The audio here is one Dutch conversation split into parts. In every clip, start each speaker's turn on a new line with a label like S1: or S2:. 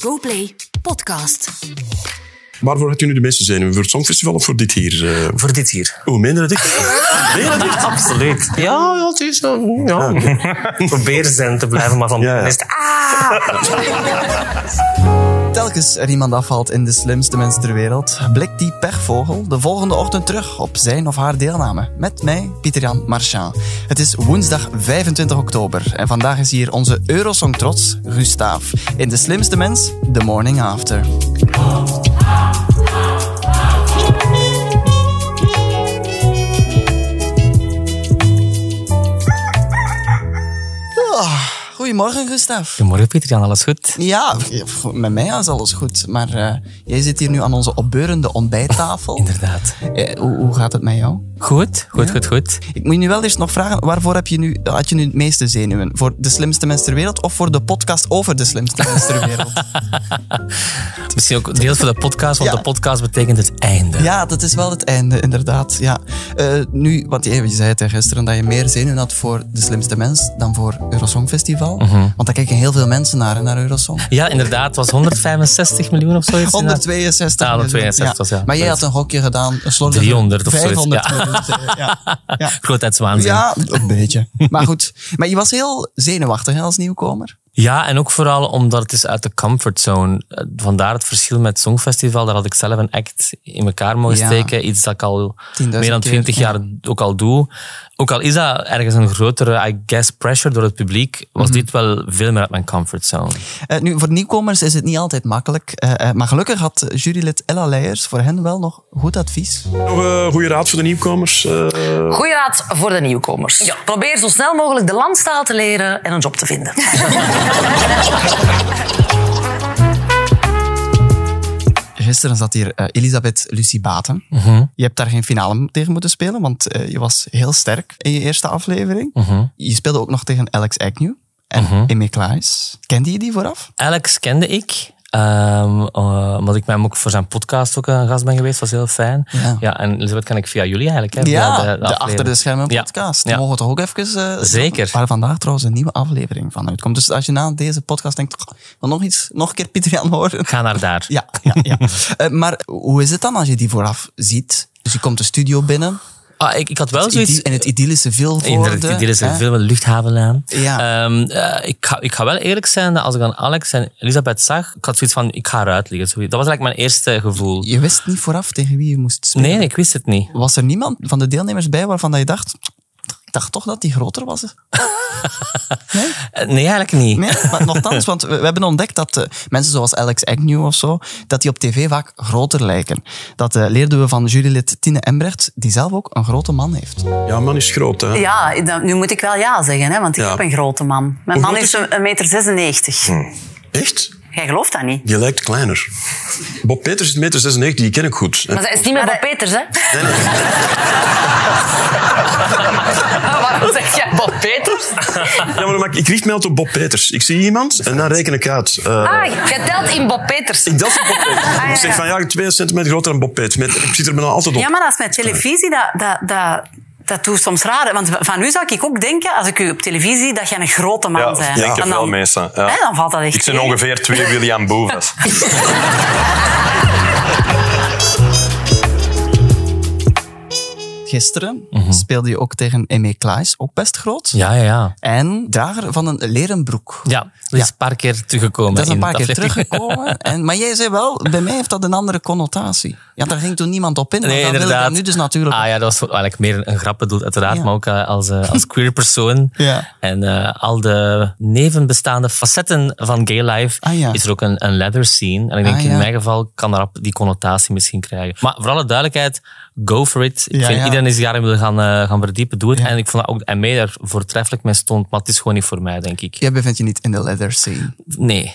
S1: GoPlay Podcast.
S2: Waarvoor gaat u nu de meeste zenuwen? Voor het Songfestival of voor dit hier? eh?
S3: Voor dit hier.
S2: Hoe minder het ik? Minder het ik?
S3: Absoluut. Ja, ja, het is zo.
S2: Ah,
S3: Ja. Probeer zen te blijven, maar van
S2: Ja, ja.
S3: de rest,
S4: Telkens er iemand afvalt in de slimste mens ter wereld, blikt die pechvogel de volgende ochtend terug op zijn of haar deelname. Met mij, Pieter-Jan Marchand. Het is woensdag 25 oktober en vandaag is hier onze Eurosong-trots, Gustaaf. In de slimste mens, The Morning After. Ah, Goedemorgen, Gustaaf.
S3: Goedemorgen Pieter Jan, alles goed?
S4: Ja, pff, met mij is alles goed. Maar eh, jij zit hier nu aan onze opbeurende ontbijttafel.
S3: Inderdaad.
S4: Eh, hoe, hoe gaat het met jou?
S3: Goed, goed, goed, goed.
S4: Ik moet je nu wel eerst nog vragen, waarvoor heb je nu, had je nu het meeste zenuwen? Voor de slimste mens ter wereld of voor de podcast over de slimste mens ter wereld?
S3: Misschien ook deels voor de podcast, want
S4: Ja.
S3: de podcast betekent het einde.
S4: Ja, dat is wel het einde, inderdaad. Ja. Eh, nu, want je, je zei het hè, gisteren dat je meer zenuwen had voor de slimste mens dan voor Eurosong Festival. Want daar kijken heel veel mensen naar, hè, naar Eurosong.
S3: Ja, inderdaad, het was 165 miljoen of zoiets.
S4: 162.
S3: Ja, 162 was, ja.
S4: Maar jij had een gokje gedaan. Een slordige
S3: 300 of zoiets,
S4: 500
S3: ja.
S4: minuten, ja. Ja.
S3: Grootheidswaanzin. Ja.
S4: Ja, een beetje. Maar goed. Maar je was heel zenuwachtig hè, als nieuwkomer.
S3: en ook vooral omdat het is uit de comfortzone. Eh, Vandaar het verschil met het Songfestival. Daar had ik zelf een act in elkaar mogen
S4: Ja.
S3: steken. Iets dat ik al
S4: 10.000
S3: meer dan
S4: keer,
S3: 20 jaar ook al doe. Ook al is dat ergens een grotere, I guess, pressure door het publiek, was
S4: Mhm.
S3: dit wel veel meer uit mijn comfortzone.
S4: Eh, nu, voor nieuwkomers is het niet altijd makkelijk. Eh, eh, maar gelukkig had jurylid Ella Leijers voor hen wel nog goed advies.
S2: Nog een goede raad voor de nieuwkomers? eh?
S5: Goeie raad voor de nieuwkomers. Probeer zo snel mogelijk de landstaal te leren en een job te vinden.
S4: Gisteren zat hier eh, Elisabeth Lucie Baten.
S3: Mhm.
S4: Je hebt daar geen finale tegen moeten spelen, want eh, je was heel sterk in je eerste aflevering.
S3: Mhm.
S4: Je speelde ook nog tegen Alex Agnew en Amy Klaes. Kende je die vooraf?
S3: Alex kende ik. ehm, eh, omdat ik met hem ook voor zijn podcast ook een gast ben geweest, was heel fijn.
S4: Ja.
S3: Ja, en Elisabeth kan ik via jullie eigenlijk. Hè, via
S4: Ja, de,
S3: eh, aflevering.
S4: Achter de Schermen
S3: Ja,
S4: podcast.
S3: ja.
S4: Daar mogen we toch ook even... eh,
S3: Zeker.
S4: Waar vandaag trouwens een nieuwe aflevering van uitkomt. Dus als je na deze podcast denkt, "Oh, ik wil nog, iets, nog een keer Pieter Jan horen.
S3: Ga naar daar.
S4: Ja, ja, ja. Eh, maar hoe is het dan als je die vooraf ziet? Dus je komt de studio binnen,
S3: Ah, ik, ik had wel
S4: idyllische
S3: zoiets... eh,
S4: in het idyllische Vilvoorde.
S3: Inderdaad, dit is
S4: hè?
S3: een film met luchthavenlaan.
S4: Ja.
S3: Ehm, eh, ik, ga, ik ga wel eerlijk zijn dat als ik dan Alex en Elisabeth zag, ik had zoiets van, ik ga eruit liggen. Zoiets. Dat was eigenlijk mijn eerste gevoel.
S4: Je wist niet vooraf tegen wie je moest spelen.
S3: Nee, ik wist het niet.
S4: Was er niemand van de deelnemers bij waarvan dat je dacht... Ik dacht toch dat die groter was. Nee?
S3: Eh, Nee, eigenlijk niet.
S4: Nee, maar nogthans, want we, we hebben ontdekt dat eh, mensen zoals Alex Agnew of zo, dat die op tv vaak groter lijken. Dat eh, leerden we van jurylid Tine Embrecht, die zelf ook een grote man heeft.
S2: Ja, man is groot, hè?
S5: Ja, dan- nu moet ik wel ja zeggen, hè, want ik
S2: Ja.
S5: heb een grote man. Mijn
S2: Hoe
S5: man
S2: groot
S5: is
S2: is
S5: een 1,96 meter. 96.
S2: Echt?
S5: Jij gelooft dat niet.
S2: Je lijkt kleiner. Bob Peters is 1,96 meter, die ken ik goed. Eh,
S5: Maar dat is niet meer Bob Peters, hè? Waarom zeg jij Bob Peters?
S2: Ja, maar maar ik richt mij altijd op Bob Peters. Ik zie iemand en dan reken ik uit. Eh,
S5: Ah, jij telt in Bob Peters.
S2: Ik dacht op Bob Peters.
S5: ja,
S2: Ik zeg van ja, 2 centimeter groter dan Bob Peters. Met, ik zit er bijna altijd op.
S5: Ja, maar dat is met televisie, dat, dat, dat, dat doet soms raar. hè. Want van u zou ik ook denken, als ik u op televisie zie, dat jij een grote man
S6: Ja,
S5: bent.
S6: ik denk
S5: En dan-
S6: er veel mensen. Ja.
S5: Hè, dan valt dat echt
S6: Ik ben
S5: tegen.
S6: ongeveer twee William Boevens.
S4: Gisteren speelde je ook tegen Aimé Klaes, ook best groot.
S3: Mhm. Ja, ja, ja.
S4: En drager van een leren broek.
S3: Ja, dat is een paar keer teruggekomen.
S4: Dat is een
S3: in
S4: paar
S3: de
S4: keer
S3: aflevering.
S4: teruggekomen. En, maar jij zei wel, bij mij heeft dat een andere connotatie. Ja, daar ging toen niemand op in. maar
S3: Nee,
S4: dat wil ik
S3: inderdaad.
S4: daar nu dus natuurlijk.
S3: Ah ja, dat was voor- eigenlijk meer een grap bedoeld, uiteraard.
S4: Ja.
S3: Maar ook eh, als, eh, als queer persoon.
S4: Ja.
S3: En eh, al de nevenbestaande facetten van gay life
S4: Ah, ja.
S3: is er ook een, een leather scene. En ik denk,
S4: Ah, ja.
S3: in mijn geval kan daar die connotatie misschien krijgen. Maar voor alle duidelijkheid, go for it. Ik
S4: Ja,
S3: vind
S4: ja.
S3: iedereen die zich daarin wil gaan, eh, gaan verdiepen, doe het.
S4: Ja.
S3: En ik vond dat ook ME daar voortreffelijk mee stond. Maar het is gewoon niet voor mij, denk ik.
S4: Jij bevindt je niet in de leather scene.
S3: Nee.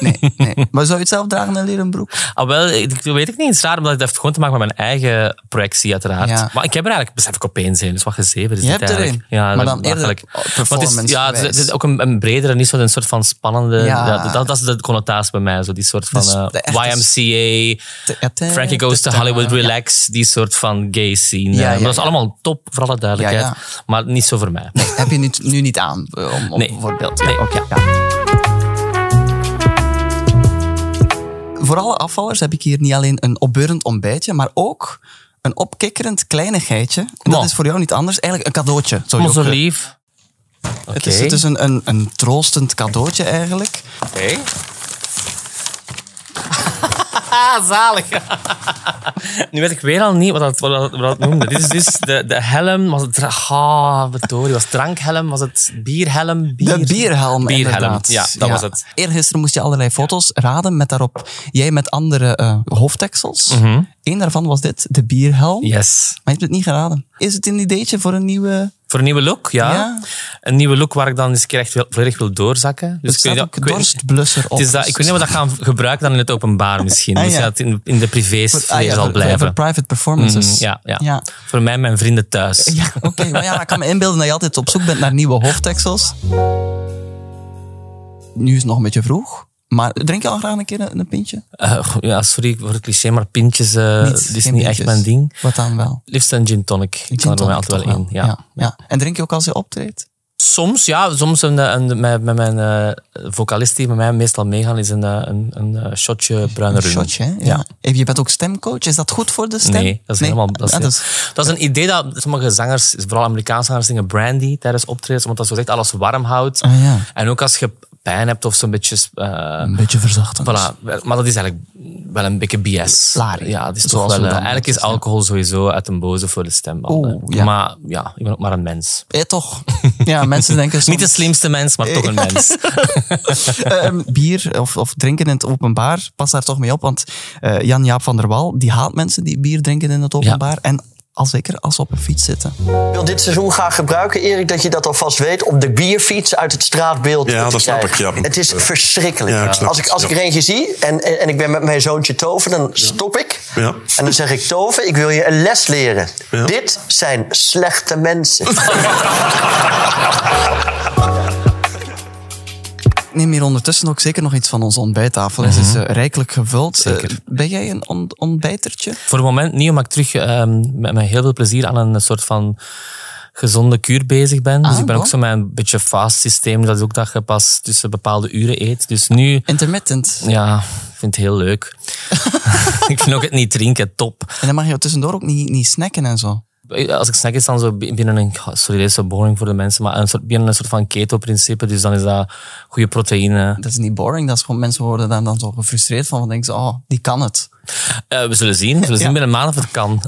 S4: Nee, nee. Maar zou je het zelf dragen, een leren broek?
S3: Ah, wel, ik, ik weet ik niet. Het is raar, omdat het heeft gewoon te maken met mijn eigen projectie, uiteraard.
S4: Ja.
S3: Maar ik heb er eigenlijk, besef ik opeens een, dus wat gezever is
S4: Je
S3: dit
S4: hebt er
S3: eigenlijk.
S4: een, maar dan eerder
S3: belachelijk. Maar het is, ja, het is, het
S4: performancegewijs.
S3: is ook een, een bredere, niet zo'n soort van spannende...
S4: Ja.
S3: Ja, dat, dat is de connotatie bij mij, zo die soort van
S4: Dus
S3: eh,
S4: de echte-
S3: YMCA,
S4: ja, de-
S3: Frankie Goes to
S4: de-
S3: Hollywood,
S4: ja.
S3: Relax, die soort van gay scene.
S4: Ja,
S3: Eh, maar
S4: ja,
S3: dat is
S4: ja.
S3: allemaal top, voor alle duidelijkheid.
S4: Ja,
S3: Maar niet zo voor mij.
S4: Heb je het nu niet aan, eh, om, om
S3: Nee.
S4: bijvoorbeeld?
S3: Nee.
S4: Oké, ja. afvallers heb ik hier niet alleen een opbeurend ontbijtje, maar ook een opkikkerend kleinigheitje. En dat
S3: Wow.
S4: is voor jou niet anders. Eigenlijk een cadeautje. Zou je
S3: Oh, zo
S4: ook- eh,
S3: lief. Oké.
S4: Het is, het is een, een, een troostend cadeautje eigenlijk.
S3: Oké. Zalig. nu weet ik weer al niet wat dat, wat dat, wat dat noemde. Dit is dus de, de helm. Was het, dra- ah, verdorie, was het drankhelm? Was het bierhelm? Bier?
S4: De bierhelm,
S3: Bierhelm,
S4: inderdaad.
S3: ja, dat was het.
S4: Eergisteren moest je allerlei foto's raden met daarop jij met andere eh, hoofddeksels. Eén daarvan was dit, de bierhelm.
S3: Yes.
S4: Maar je hebt het niet geraden. Is het een ideetje voor een nieuwe...
S3: Voor een nieuwe look, ja.
S4: Ja.
S3: Een nieuwe look waar ik dan eens een keer echt wil- volledig wil doorzakken. Dus
S4: Het staat ook dorstblusser op. dus-
S3: Het is dat, ik weet niet of we dat gaan gebruiken dan in het openbaar misschien.
S4: Ah,
S3: Dus
S4: ja.
S3: ja, het in, in de privésfeer
S4: Ah ja,
S3: zal
S4: voor-
S3: blijven.
S4: Voor private performances.
S3: Mm, ja, ja.
S4: Ja.
S3: Voor mij en mijn vrienden thuis.
S4: Ja, oké. Maar ja, ik kan me inbeelden dat je altijd op zoek bent naar nieuwe hoofddeksels. Nu is het nog een beetje vroeg. Maar drink je al graag een keer een, een pintje?
S3: Eh, goh, ja, sorry voor het cliché, maar pintjes eh
S4: Niet,
S3: dit is niet
S4: geen
S3: echt
S4: pintjes.
S3: mijn ding.
S4: Wat dan wel?
S3: Liefst een gin tonic. Ik
S4: Gin
S3: kan er mij
S4: tonic
S3: altijd
S4: toch
S3: wel in. Ja.
S4: Ja, ja. En drink je ook als je optreedt?
S3: Soms, ja. Soms een, een, met, met mijn eh, vocalist die met mij meestal meegaan, is een, eh, een, een eh, shotje bruine rum.
S4: Shotje, hè? Ja. Eh, Je bent ook stemcoach. Is dat goed voor de stem?
S3: Nee, dat is helemaal... Dat is,
S4: Ah,
S3: dat is een idee dat sommige zangers, vooral Amerikaanse zangers, zingen brandy tijdens optredens, omdat dat zo echt alles warm houdt.
S4: Ah, ja. Mm.
S3: En ook als je pijn hebt of zo'n beetje... eh,
S4: een beetje verzachtend.
S3: Voilà, maar dat is eigenlijk wel een beetje BS.
S4: Lari.
S3: Ja, het is
S4: Zoals
S3: toch wel, eh,
S4: we dan
S3: eigenlijk is
S4: zeggen.
S3: alcohol sowieso uit een boze voor de stembanden.
S4: Oeh, ja.
S3: Maar ja, ik ben ook maar een mens.
S4: Eh, toch. Ja, mensen denken soms...
S3: Niet de slimste mens, maar toch een mens.
S4: Ehm, bier of, of drinken in het openbaar, pas daar toch mee op. Want eh, Jan-Jaap van der Wal, die haat mensen die bier drinken in het openbaar. En al zeker als ze op een fiets zitten.
S6: Ik wil dit seizoen graag gebruiken, Erik, dat je dat alvast weet, om de bierfiets uit het straatbeeld
S2: Ja,
S6: te
S2: dat snap
S6: krijgen.
S2: ik, ja.
S6: Het is verschrikkelijk.
S2: Ja, ik snap
S6: als ik,
S2: het,
S6: als
S2: ja.
S6: ik er eentje zie en, en en ik ben met mijn zoontje Toven, dan stop ik.
S2: Ja.
S6: En dan zeg ik, Toven, ik wil je een les leren.
S2: Ja.
S6: Dit zijn slechte mensen.
S4: Ik neem hier ondertussen ook zeker nog iets van onze ontbijttafel. Het is eh, rijkelijk gevuld.
S3: Zeker.
S4: Eh, ben jij een on- ontbijtertje?
S3: voor het moment niet, omdat ik terug ehm, met, met heel veel plezier aan een soort van gezonde kuur bezig ben. dus
S4: Ah,
S3: ik ben ook
S4: bon.
S3: zo met een beetje fast systeem. Dat is ook dat je pas tussen bepaalde uren eet. Dus nu,
S4: Intermittent.
S3: ja, ik vind het heel leuk. ik vind ook het niet drinken top.
S4: En dan mag je tussendoor ook niet, niet snacken en zo.
S3: Als ik snack is dan zo binnen een, sorry, dit is zo boring voor de mensen, maar een soort, binnen een soort van keto-principe. Dus dan is dat goede proteïne.
S4: Dat is niet boring. Dat is gewoon, mensen worden daar dan zo gefrustreerd van. Want denken ze, oh, die kan het.
S3: Eh, we zullen zien. We zullen zien binnen een maand of het kan.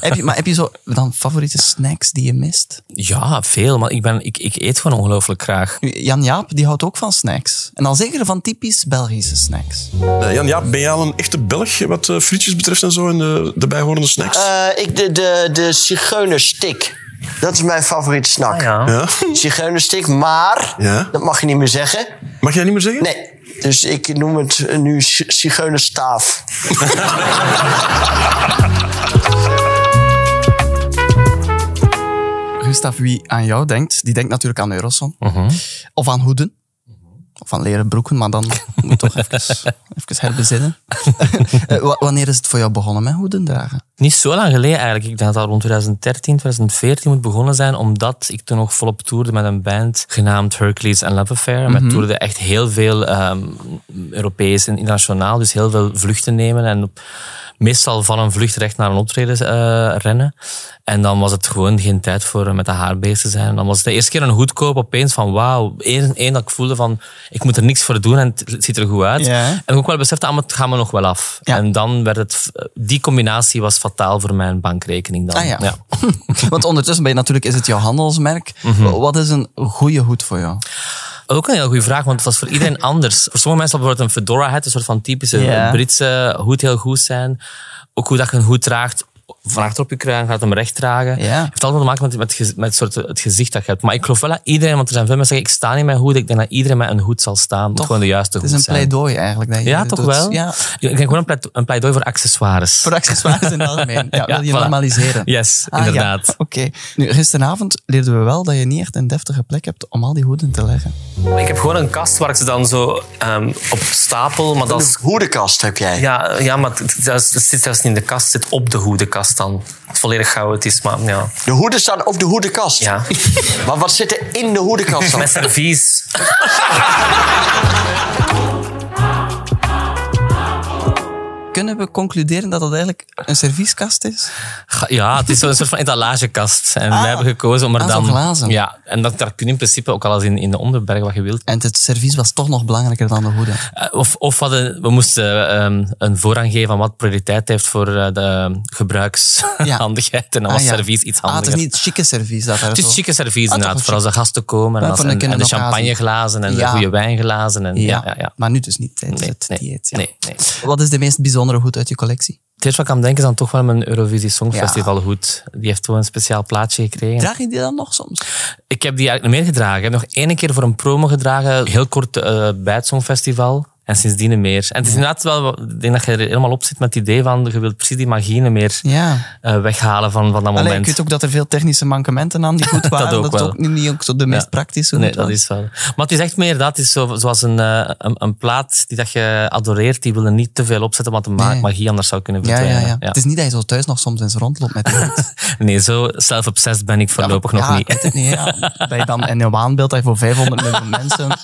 S4: heb je, maar heb je zo dan favoriete snacks die je mist?
S3: Ja, veel. Maar ik, ben, ik, ik eet gewoon ongelooflijk graag.
S4: Jan-Jaap, die houdt ook van snacks. En al zeker van typisch Belgische snacks.
S2: Eh, Jan, ja, ben jij al een echte Belg wat eh, frietjes betreft en zo en de, de bijhorende snacks?
S6: Eh, ik, de, de, de zigeunerstik. Dat is mijn favoriete snack.
S3: Ah,
S2: ja?
S6: Zigeunerstik, maar
S2: Ja.
S6: dat mag je niet meer zeggen.
S2: Mag jij niet meer zeggen?
S6: Nee, dus ik noem het eh, nu zi- zigeunerstaaf.
S4: Gustav, wie aan jou denkt, die denkt natuurlijk aan Eurosong.
S3: Mhm.
S4: Of aan hoeden. Of aan leren broeken, maar dan moet je toch even, even herbezinnen. Eh, wa- wanneer is het voor jou begonnen met hoeden dragen?
S3: Niet zo lang geleden eigenlijk. Ik denk dat dat rond 2013, 2014 moet begonnen zijn. Omdat ik toen nog volop toerde met een band genaamd Hercules and Love Affair. En Wij toerden echt heel veel ehm, Europees en internationaal. Dus heel veel vluchten nemen. En op- meestal van een vlucht recht naar een optreden eh, rennen. En dan was het gewoon geen tijd voor eh, met de haar bezig te zijn. Dan was het de eerste keer een goedkoop opeens van wauw. Eén, één dat ik voelde van ik moet er niks voor doen en het het ziet er goed uit.
S4: Ja.
S3: En ook wel besefte, ah, maar het gaat me nog wel af.
S4: Ja.
S3: En dan werd het... Die combinatie was fataal voor mijn bankrekening dan.
S4: Ah ja. Want ondertussen ben je natuurlijk, is het jouw handelsmerk.
S3: Mhm.
S4: Wat is een goede hoed voor jou?
S3: Ook een heel goede vraag, want dat is voor iedereen anders. Voor sommige mensen zal bijvoorbeeld een fedora hat, een soort van typische
S4: Ja.
S3: Britse hoed, heel goed zijn. Ook hoe dat je een hoed draagt, van achter op je kruin, gaat hem recht dragen.
S4: Ja.
S3: heeft allemaal te maken met, met, gez- met soort, het gezicht dat je hebt. Maar ik geloof wel dat iedereen, want er zijn veel mensen die zeggen, ik sta niet met een hoed. Ik denk dat iedereen met een hoed zal staan. Het moet gewoon de juiste
S4: Het is
S3: hoed
S4: een
S3: zijn.
S4: pleidooi eigenlijk. Dat je
S3: Ja,
S4: dit
S3: toch
S4: doet.
S3: wel?
S4: Ja,
S3: Ik denk gewoon een pleid- een pleidooi voor accessoires.
S4: voor accessoires in het algemeen. Ja, wil je
S3: voilà.
S4: normaliseren.
S3: Yes,
S4: Ah, ja.
S3: inderdaad.
S4: Oké. Nu, gisteravond leerden we wel dat je niet echt een deftige plek hebt om al die hoeden te leggen.
S3: Ik heb gewoon een kast waar ik ze dan zo ehm, op stapel, maar dat
S6: De
S3: is...
S6: hoedenkast heb jij.
S3: Ja, ja maar het, het- zelfs- het zit zelfs niet in de kast, het zit op de hoedenkast dan. Het volledig goud is, maar ja.
S6: De hoeden staan op de hoedenkast.
S3: Ja.
S6: Maar wat zit er in de hoedenkast dan?
S3: Met servies.
S4: kunnen we concluderen dat dat eigenlijk een servieskast is?
S3: Ga- Ja, het is zo'n soort van etalagekast. En wij hebben gekozen om er
S4: ah,
S3: dan...
S4: zo glazen.
S3: Ja, en dat, daar kun je in principe ook alles in, in de onderberg wat je wilt.
S4: En het servies was toch nog belangrijker dan de hoede.
S3: Eh, Of, of we hadden, we moesten ehm, een voorrang geven aan wat prioriteit heeft voor eh, de gebruikshandigheid. En dan was
S4: Ah, ja.
S3: servies iets
S4: Ah, het
S3: handiger.
S4: is niet chique servies dat daar
S3: Het
S4: zo-
S3: is chique servies
S4: Ah, toch
S3: inderdaad,
S4: wel
S3: voor als de gasten komen. En,
S4: Ja,
S3: als,
S4: van, dan
S3: en, en
S4: kunnen
S3: de
S4: we nog
S3: champagneglazen en de
S4: Ja.
S3: goede wijnglazen. En, ja, ja, ja.
S4: Maar nu dus niet tijdens
S3: Nee,
S4: het
S3: nee,
S4: dieet. ja.
S3: nee, nee. Het
S4: Wat is de meest bijzondere hoed uit je collectie?
S3: eerste wat ik aan denk is dan toch wel mijn Eurovisie Songfestival
S4: Ja.
S3: hoed. Die heeft wel een speciaal plaatsje gekregen.
S4: Draag je die dan nog soms?
S3: Ik heb die eigenlijk nog meer gedragen. Ik heb nog één keer voor een promo gedragen, heel kort eh, bij het Songfestival. En sindsdien niet meer. En het is inderdaad wel, wat- ik denk dat je er helemaal op zit met het idee van, je wilt precies die magie niet meer
S4: Ja.
S3: eh, weghalen van, van dat moment.
S4: Alleen, ik weet ook dat er veel technische mankementen aan die goed waren.
S3: ook
S4: dat het
S3: wel.
S4: ook niet, niet ook zo de meest praktische hoed
S3: Nee, dat
S4: was.
S3: is wel. Maar het is echt meer dat. Het is zo, zoals een, eh, een, een plaat die dat je adoreert, die wil er niet te veel opzetten, want de ma-
S4: Nee.
S3: magie anders zou kunnen
S4: Ja, ja,
S3: verdwijnen.
S4: ja, Het is niet dat je zo thuis nog soms eens rondloopt met die hoed.
S3: Nee, zo self-obsessed ben ik voorlopig nog
S4: ja, ik
S3: niet.
S4: weet het niet. Ja. Dat je dan in een waanbeeld dat je voor 500 miljoen mensen...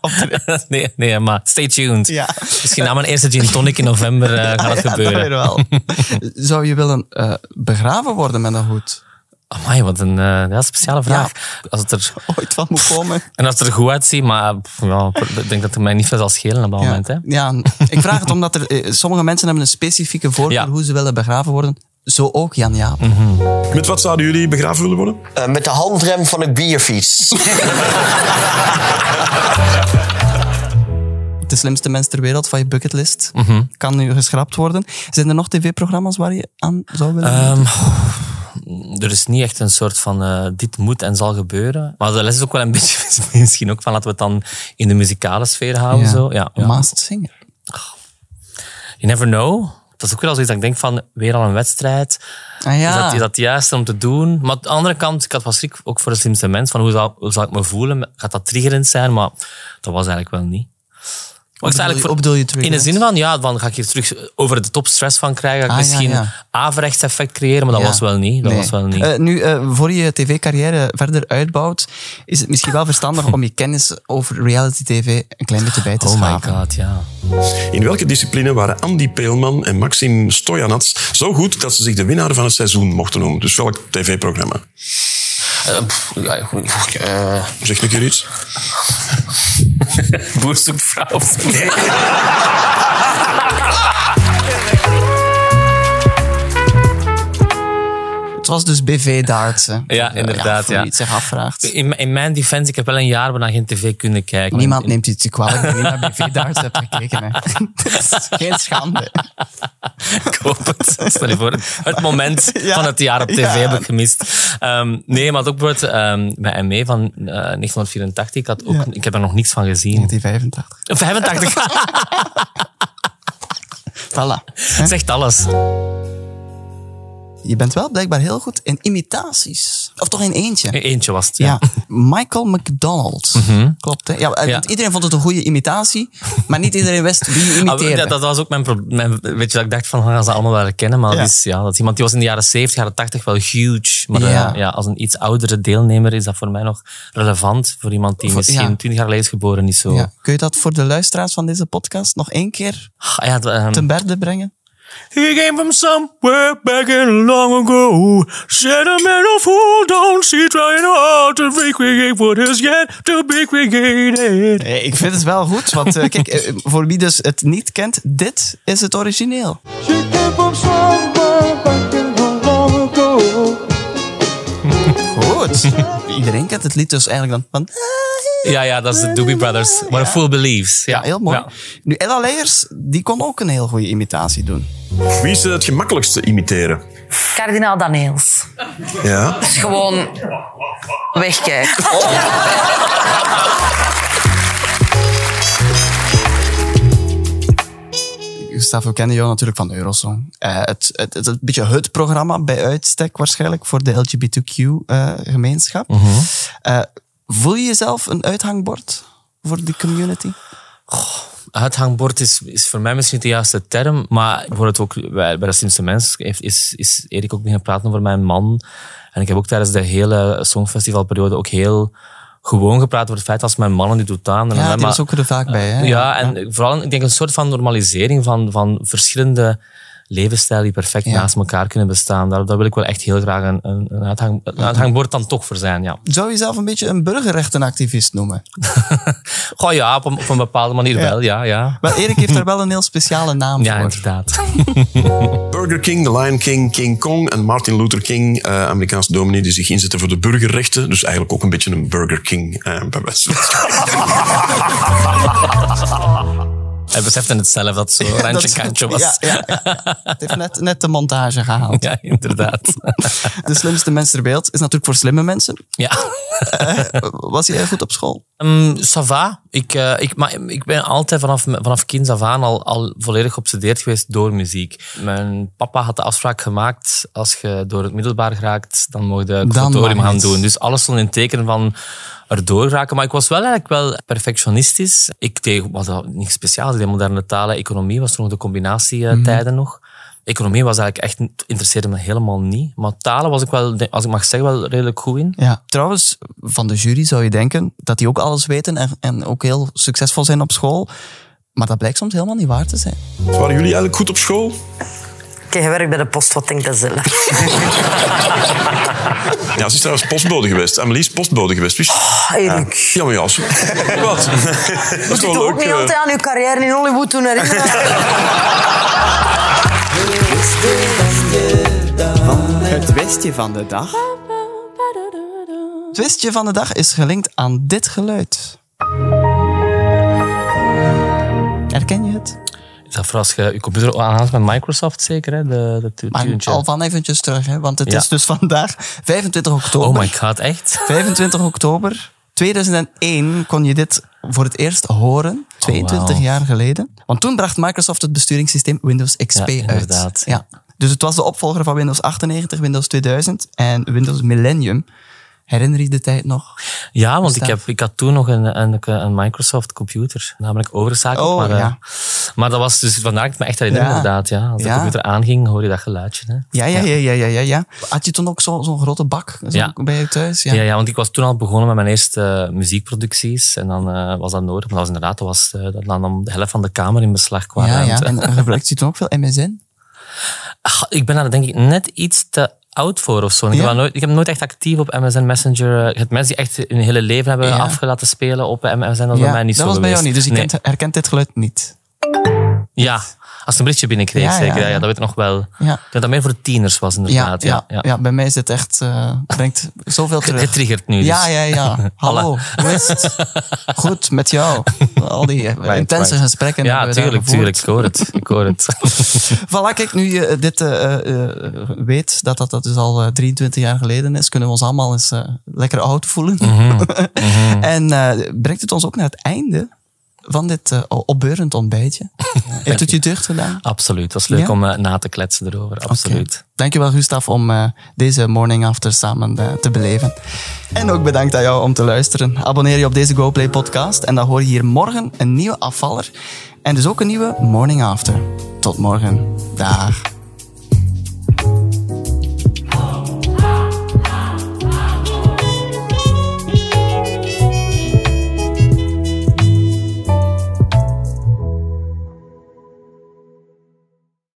S4: op de-
S3: nee, nee, maar stay tuned.
S4: ja.
S3: Misschien na mijn eerste gin tonic in november eh, gaat het
S4: Ja, dat
S3: gebeuren.
S4: weer wel. Zou je willen eh, begraven worden met een hoed?
S3: Amai, wat een eh, ja, speciale vraag. Als het er,
S4: Ooit van moet komen.
S3: en als het er goed uitziet, maar pff, ja, ik denk dat het mij niet veel zal schelen op dat moment. Hè?
S4: Ja, ik vraag het omdat er, eh, sommige mensen hebben een specifieke voorkeur
S3: Ja. Mhm.
S4: hoe ze willen begraven worden. Zo ook Jan Jaap.
S2: Met wat zouden jullie begraven willen worden?
S6: Eh, met de handrem van een bierfiets.
S4: De slimste mens ter wereld van je bucketlist
S3: Mhm.
S4: kan nu geschrapt worden. Zijn er nog tv-programma's waar je aan zou willen?
S3: Ehm, er is niet echt een soort van eh, dit moet en zal gebeuren. Maar de les is ook wel een beetje misschien ook van laten we het dan in de muzikale sfeer houden. Zo. Ja, ja.
S4: Maast Singer.
S3: You never know. Dat is ook wel zoiets dat ik denk van weer al een wedstrijd.
S4: Ah ja,
S3: Is, dat, is dat het juiste om te doen? Maar aan de andere kant, ik had wel schrik ook voor de slimste mens. Van hoe, zal, hoe zal ik me voelen? Gaat dat triggerend zijn? Maar dat was eigenlijk wel niet. Maar ik
S4: bedoel
S3: zou eigenlijk
S4: je- wat bedoel je terug?
S3: in de zin van, ja, dan ga ik hier terug over de top stress van krijgen. Ga ik
S4: Ah, ja,
S3: misschien
S4: ja.
S3: averechts effect creëren, maar dat
S4: Ja.
S3: was wel niet. Dat
S4: Nee.
S3: was wel niet.
S4: Eh, nu, eh, voor je tv-carrière verder uitbouwt, is het misschien wel verstandig om je kennis over reality-tv een klein beetje bij te
S3: oh my
S4: schaven.
S3: god, ja.
S2: In welke discipline waren Andy Peelman en Maxim Stojanats zo goed dat ze zich de winnaar van het seizoen mochten noemen? Dus welk tv-programma?
S3: Eh,
S2: Zeg een keer iets.
S3: Boer zoekt vrouw.
S4: Het was dus BV-dartsen.
S3: Ja, inderdaad,
S4: Eh, voor wie
S3: ja.
S4: het zich afvraagt.
S3: In, in mijn defense, ik heb wel een jaar bijna geen tv kunnen kijken.
S4: Niemand neemt iets je kwalijk dat je niet naar BV-darts hebt gekeken. Hè. Dat is geen schande.
S3: Ik hoop het. Stel je voor, het moment
S4: Ja.
S3: van het jaar op tv
S4: Ja.
S3: heb ik gemist. Ehm, nee, maar ook bijvoorbeeld ehm, bij ME van eh, 1984. Ik, had ook, ik heb er nog niks van gezien.
S4: Die 85.
S3: 85
S4: Voilà. hè.
S3: zegt alles.
S4: Je bent wel blijkbaar heel goed in imitaties. Of toch in eentje.
S3: Eentje was het. Ja. Mhm.
S4: Ja, Michael McDonald. Klopt, hè? Ja, eh,
S3: Ja.
S4: Iedereen vond het een goede imitatie, maar niet iedereen wist wie je
S3: Ah,
S4: imiteerde.
S3: ja, dat was ook mijn probleem. Weet je, dat ik dacht van, gaan ze allemaal wel herkennen. Maar
S4: Ja.
S3: dat, is, ja, dat is iemand die was in de jaren 70, jaren 80 wel huge. Maar eh,
S4: Ja.
S3: ja. als een iets oudere deelnemer is dat voor mij nog relevant. Voor iemand die
S4: Voor-
S3: misschien
S4: ja.
S3: 20 jaar geleden is geboren, niet zo.
S4: Ja. Kun je dat voor de luisteraars van deze podcast nog één keer
S3: Ah, ja, het, ehm,
S4: ten berde brengen?
S3: He came from somewhere back in long ago. Sentimental fool, don't see trying hard to recreate what is yet to be created.
S4: Nee, Eh, ik vind het wel goed, want eh, kijk, eh, voor wie dus het niet kent, dit is het origineel. Goed. Iedereen kent het lied dus eigenlijk dan van...
S3: Ja, ja, dat is de Doobie Brothers. What a Fool Believes. Ja,
S4: Ja, heel mooi.
S3: Ja.
S4: Nu, Ella Leijers, die kon ook een heel goede imitatie doen.
S2: Wie is het gemakkelijkste imiteren?
S5: Kardinaal Daneels.
S2: Ja.
S5: Dus gewoon wegkijken.
S4: Gustavo kennen jou natuurlijk van Eurosong. Eh, het, het, het, het beetje het programma bij uitstek waarschijnlijk voor de LGBTQ-gemeenschap. eh,
S3: Mhm.
S4: voel je jezelf een uithangbord voor die community?
S3: Uithangbord is, is voor mij misschien niet de juiste term, maar bijvoorbeeld ook bij, bij de slimste mens heeft, is, is Erik ook beginnen praten over mijn man. En ik heb ook tijdens de hele songfestivalperiode ook heel gewoon gepraat over het feit als mijn mannen die doet aan. En
S4: Ja,
S3: alleen
S4: die was
S3: maar-
S4: ook er vaak bij. Hè?
S3: ja, en vooral ik denk een soort van normalisering van, van verschillende levensstijlen die perfect
S4: Ja.
S3: naast elkaar kunnen bestaan. Daar, daar wil ik wel echt heel graag een, een, een, uithang, een uithangbord dan toch voor zijn, ja.
S4: Zou je jezelf een beetje een burgerrechtenactivist noemen?
S3: Goh ja, op een, op een bepaalde manier wel, ja, ja.
S4: Maar Erik heeft daar wel een heel speciale naam
S3: Ja,
S4: voor.
S3: inderdaad.
S2: Burger King, The Lion King, King Kong en Martin Luther King, eh, Amerikaanse dominee die zich inzetten voor de burgerrechten. Dus eigenlijk ook een beetje een Burger King. eh, bij wijze van spreken.
S3: Hij besefte het zelf dat het zo'n
S4: Dat
S3: randje
S4: is-
S3: kantje was.
S4: Ja, ja. Het heeft net, net de montage gehaald.
S3: Ja, inderdaad.
S4: De slimste mens ter wereld is natuurlijk voor slimme mensen. Eh,
S3: Ja.
S4: Was hij heel goed op school?
S3: Ehm ça va. Ik, eh, ik, maar ik ben altijd vanaf, vanaf kinds af aan al, al volledig geobsedeerd geweest door muziek. Mijn papa had de afspraak gemaakt, als je door het middelbaar geraakt, dan mocht je conservatorium
S4: mag
S3: gaan
S4: het.
S3: doen. Dus alles stond in het teken van erdoor raken. Maar ik was wel eigenlijk wel perfectionistisch. Ik deed wat dat- niks speciaals. Ik deed moderne talen, economie was toen nog de
S4: Mhm.
S3: combinatietijden nog. Economie was eigenlijk echt, niet- interesseerde me helemaal niet. Maar talen was ik wel, als ik mag zeggen, wel redelijk goed in.
S4: Ja. Trouwens, van de jury zou je denken dat die ook alles weten en, en ook heel succesvol zijn op school. Maar dat blijkt soms helemaal niet waar te zijn.
S2: Waren jullie eigenlijk goed op school?
S5: Oké, je werkt bij de post, wat denk dat zelf?
S2: Ja, ze is trouwens postbode geweest. Amelie is postbode geweest. Wist je?
S5: Erik.
S2: Ja, maar ja. zo- Wat? Dat is
S5: Moet je
S2: wel
S5: toch ook
S2: leuk.
S5: niet
S2: eh.
S5: altijd aan uw carrière in Hollywood doen herinneren?
S4: Het wistje van de dag. Het wistje van de dag is gelinkt aan dit geluid. Herken je het?
S3: Is dat voor als je je computer aanhaalt met Microsoft zeker, hè? De, de tu-
S4: Maar
S3: tuentje.
S4: al van eventjes terug, hè, want het
S3: Ja.
S4: is dus vandaag 25 oktober.
S3: Oh my god, echt?
S4: 25 oktober 2001 kon je dit voor het eerst horen, 22
S3: Oh, wauw.
S4: jaar geleden. Want toen bracht Microsoft het besturingssysteem Windows XP
S3: Ja,
S4: uit.
S3: inderdaad.
S4: Ja. Dus het was de opvolger van Windows 98, Windows 2000 en Windows Millennium. Herinner je de tijd nog?
S3: Ja, want ik,
S4: Bestaat.
S3: heb, ik had toen nog een, een, een Microsoft computer. Namelijk overzakeld.
S4: Oh,
S3: maar, eh,
S4: ja.
S3: maar dat was dus vandaar dat ik het me echt herinner,
S4: Ja.
S3: inderdaad. Ja. Als de
S4: Ja.
S3: computer aanging, hoor je dat geluidje. Hè?
S4: Ja, ja, ja, ja, ja, ja. ja. Had je toen ook zo- zo'n grote bak zo
S3: Ja.
S4: bij je thuis? Ja.
S3: Ja. Ja, want ik was toen al begonnen met mijn eerste eh, muziekproducties. En dan eh, was dat nodig. Maar dat was inderdaad, dat, was, eh, dat nam de helft van de kamer in beslag qua
S4: Ja, ja.
S3: ruimte.
S4: En gebruikte je toen ook veel MSN?
S3: Ach, ik ben daar denk ik net iets te oud voor of zo. Ik,
S4: Ja?
S3: heb wel nooit, ik heb nooit echt actief op MSN Messenger... eh, Het mensen die echt hun hele leven hebben
S4: Ja.
S3: afgelaten spelen op MSN, dat was
S4: ja,
S3: bij mij niet
S4: dat
S3: zo
S4: was bij
S3: geweest.
S4: jou niet, dus je
S3: Nee.
S4: kent- herkent dit geluid niet.
S3: Ja, als ze een berichtje binnenkreeg
S4: Ja, ja,
S3: zeker. Ja, ja,
S4: ja.
S3: dat weet ik nog wel. Ik
S4: Ja.
S3: denk dat dat meer voor tieners was
S4: Ja,
S3: inderdaad.
S4: ja,
S3: Ja,
S4: ja. bij mij is dit echt, eh, brengt zoveel terug.
S3: Getriggerd nu dus.
S4: Ja, ja, ja. Hallo, hoe is het? Goed, met jou. Al die eh, intense
S3: fijn.
S4: gesprekken.
S3: Ja,
S4: hebben we daar
S3: tuurlijk,
S4: gevoerd.
S3: tuurlijk. Ik hoor het. Ik hoor het.
S4: Voilà, kijk, nu je dit eh, eh, eh, weet, dat, dat dat dus al eh, 23 jaar geleden is, kunnen we ons allemaal eens eh, lekker oud voelen.
S3: Mhm,
S4: en eh, brengt het ons ook naar het einde van dit eh, opbeurend ontbijtje. Heeft het je deugd gedaan?
S3: Absoluut. Het was leuk
S4: Ja?
S3: om eh, na te kletsen erover. Absoluut.
S4: Oké. Dankjewel Gustav om eh, deze morning after samen eh, te beleven. En ook bedankt aan jou om te luisteren. Abonneer je op deze GoPlay podcast en dan hoor je hier morgen een nieuwe afvaller. En dus ook een nieuwe morning after. Tot morgen. Dag.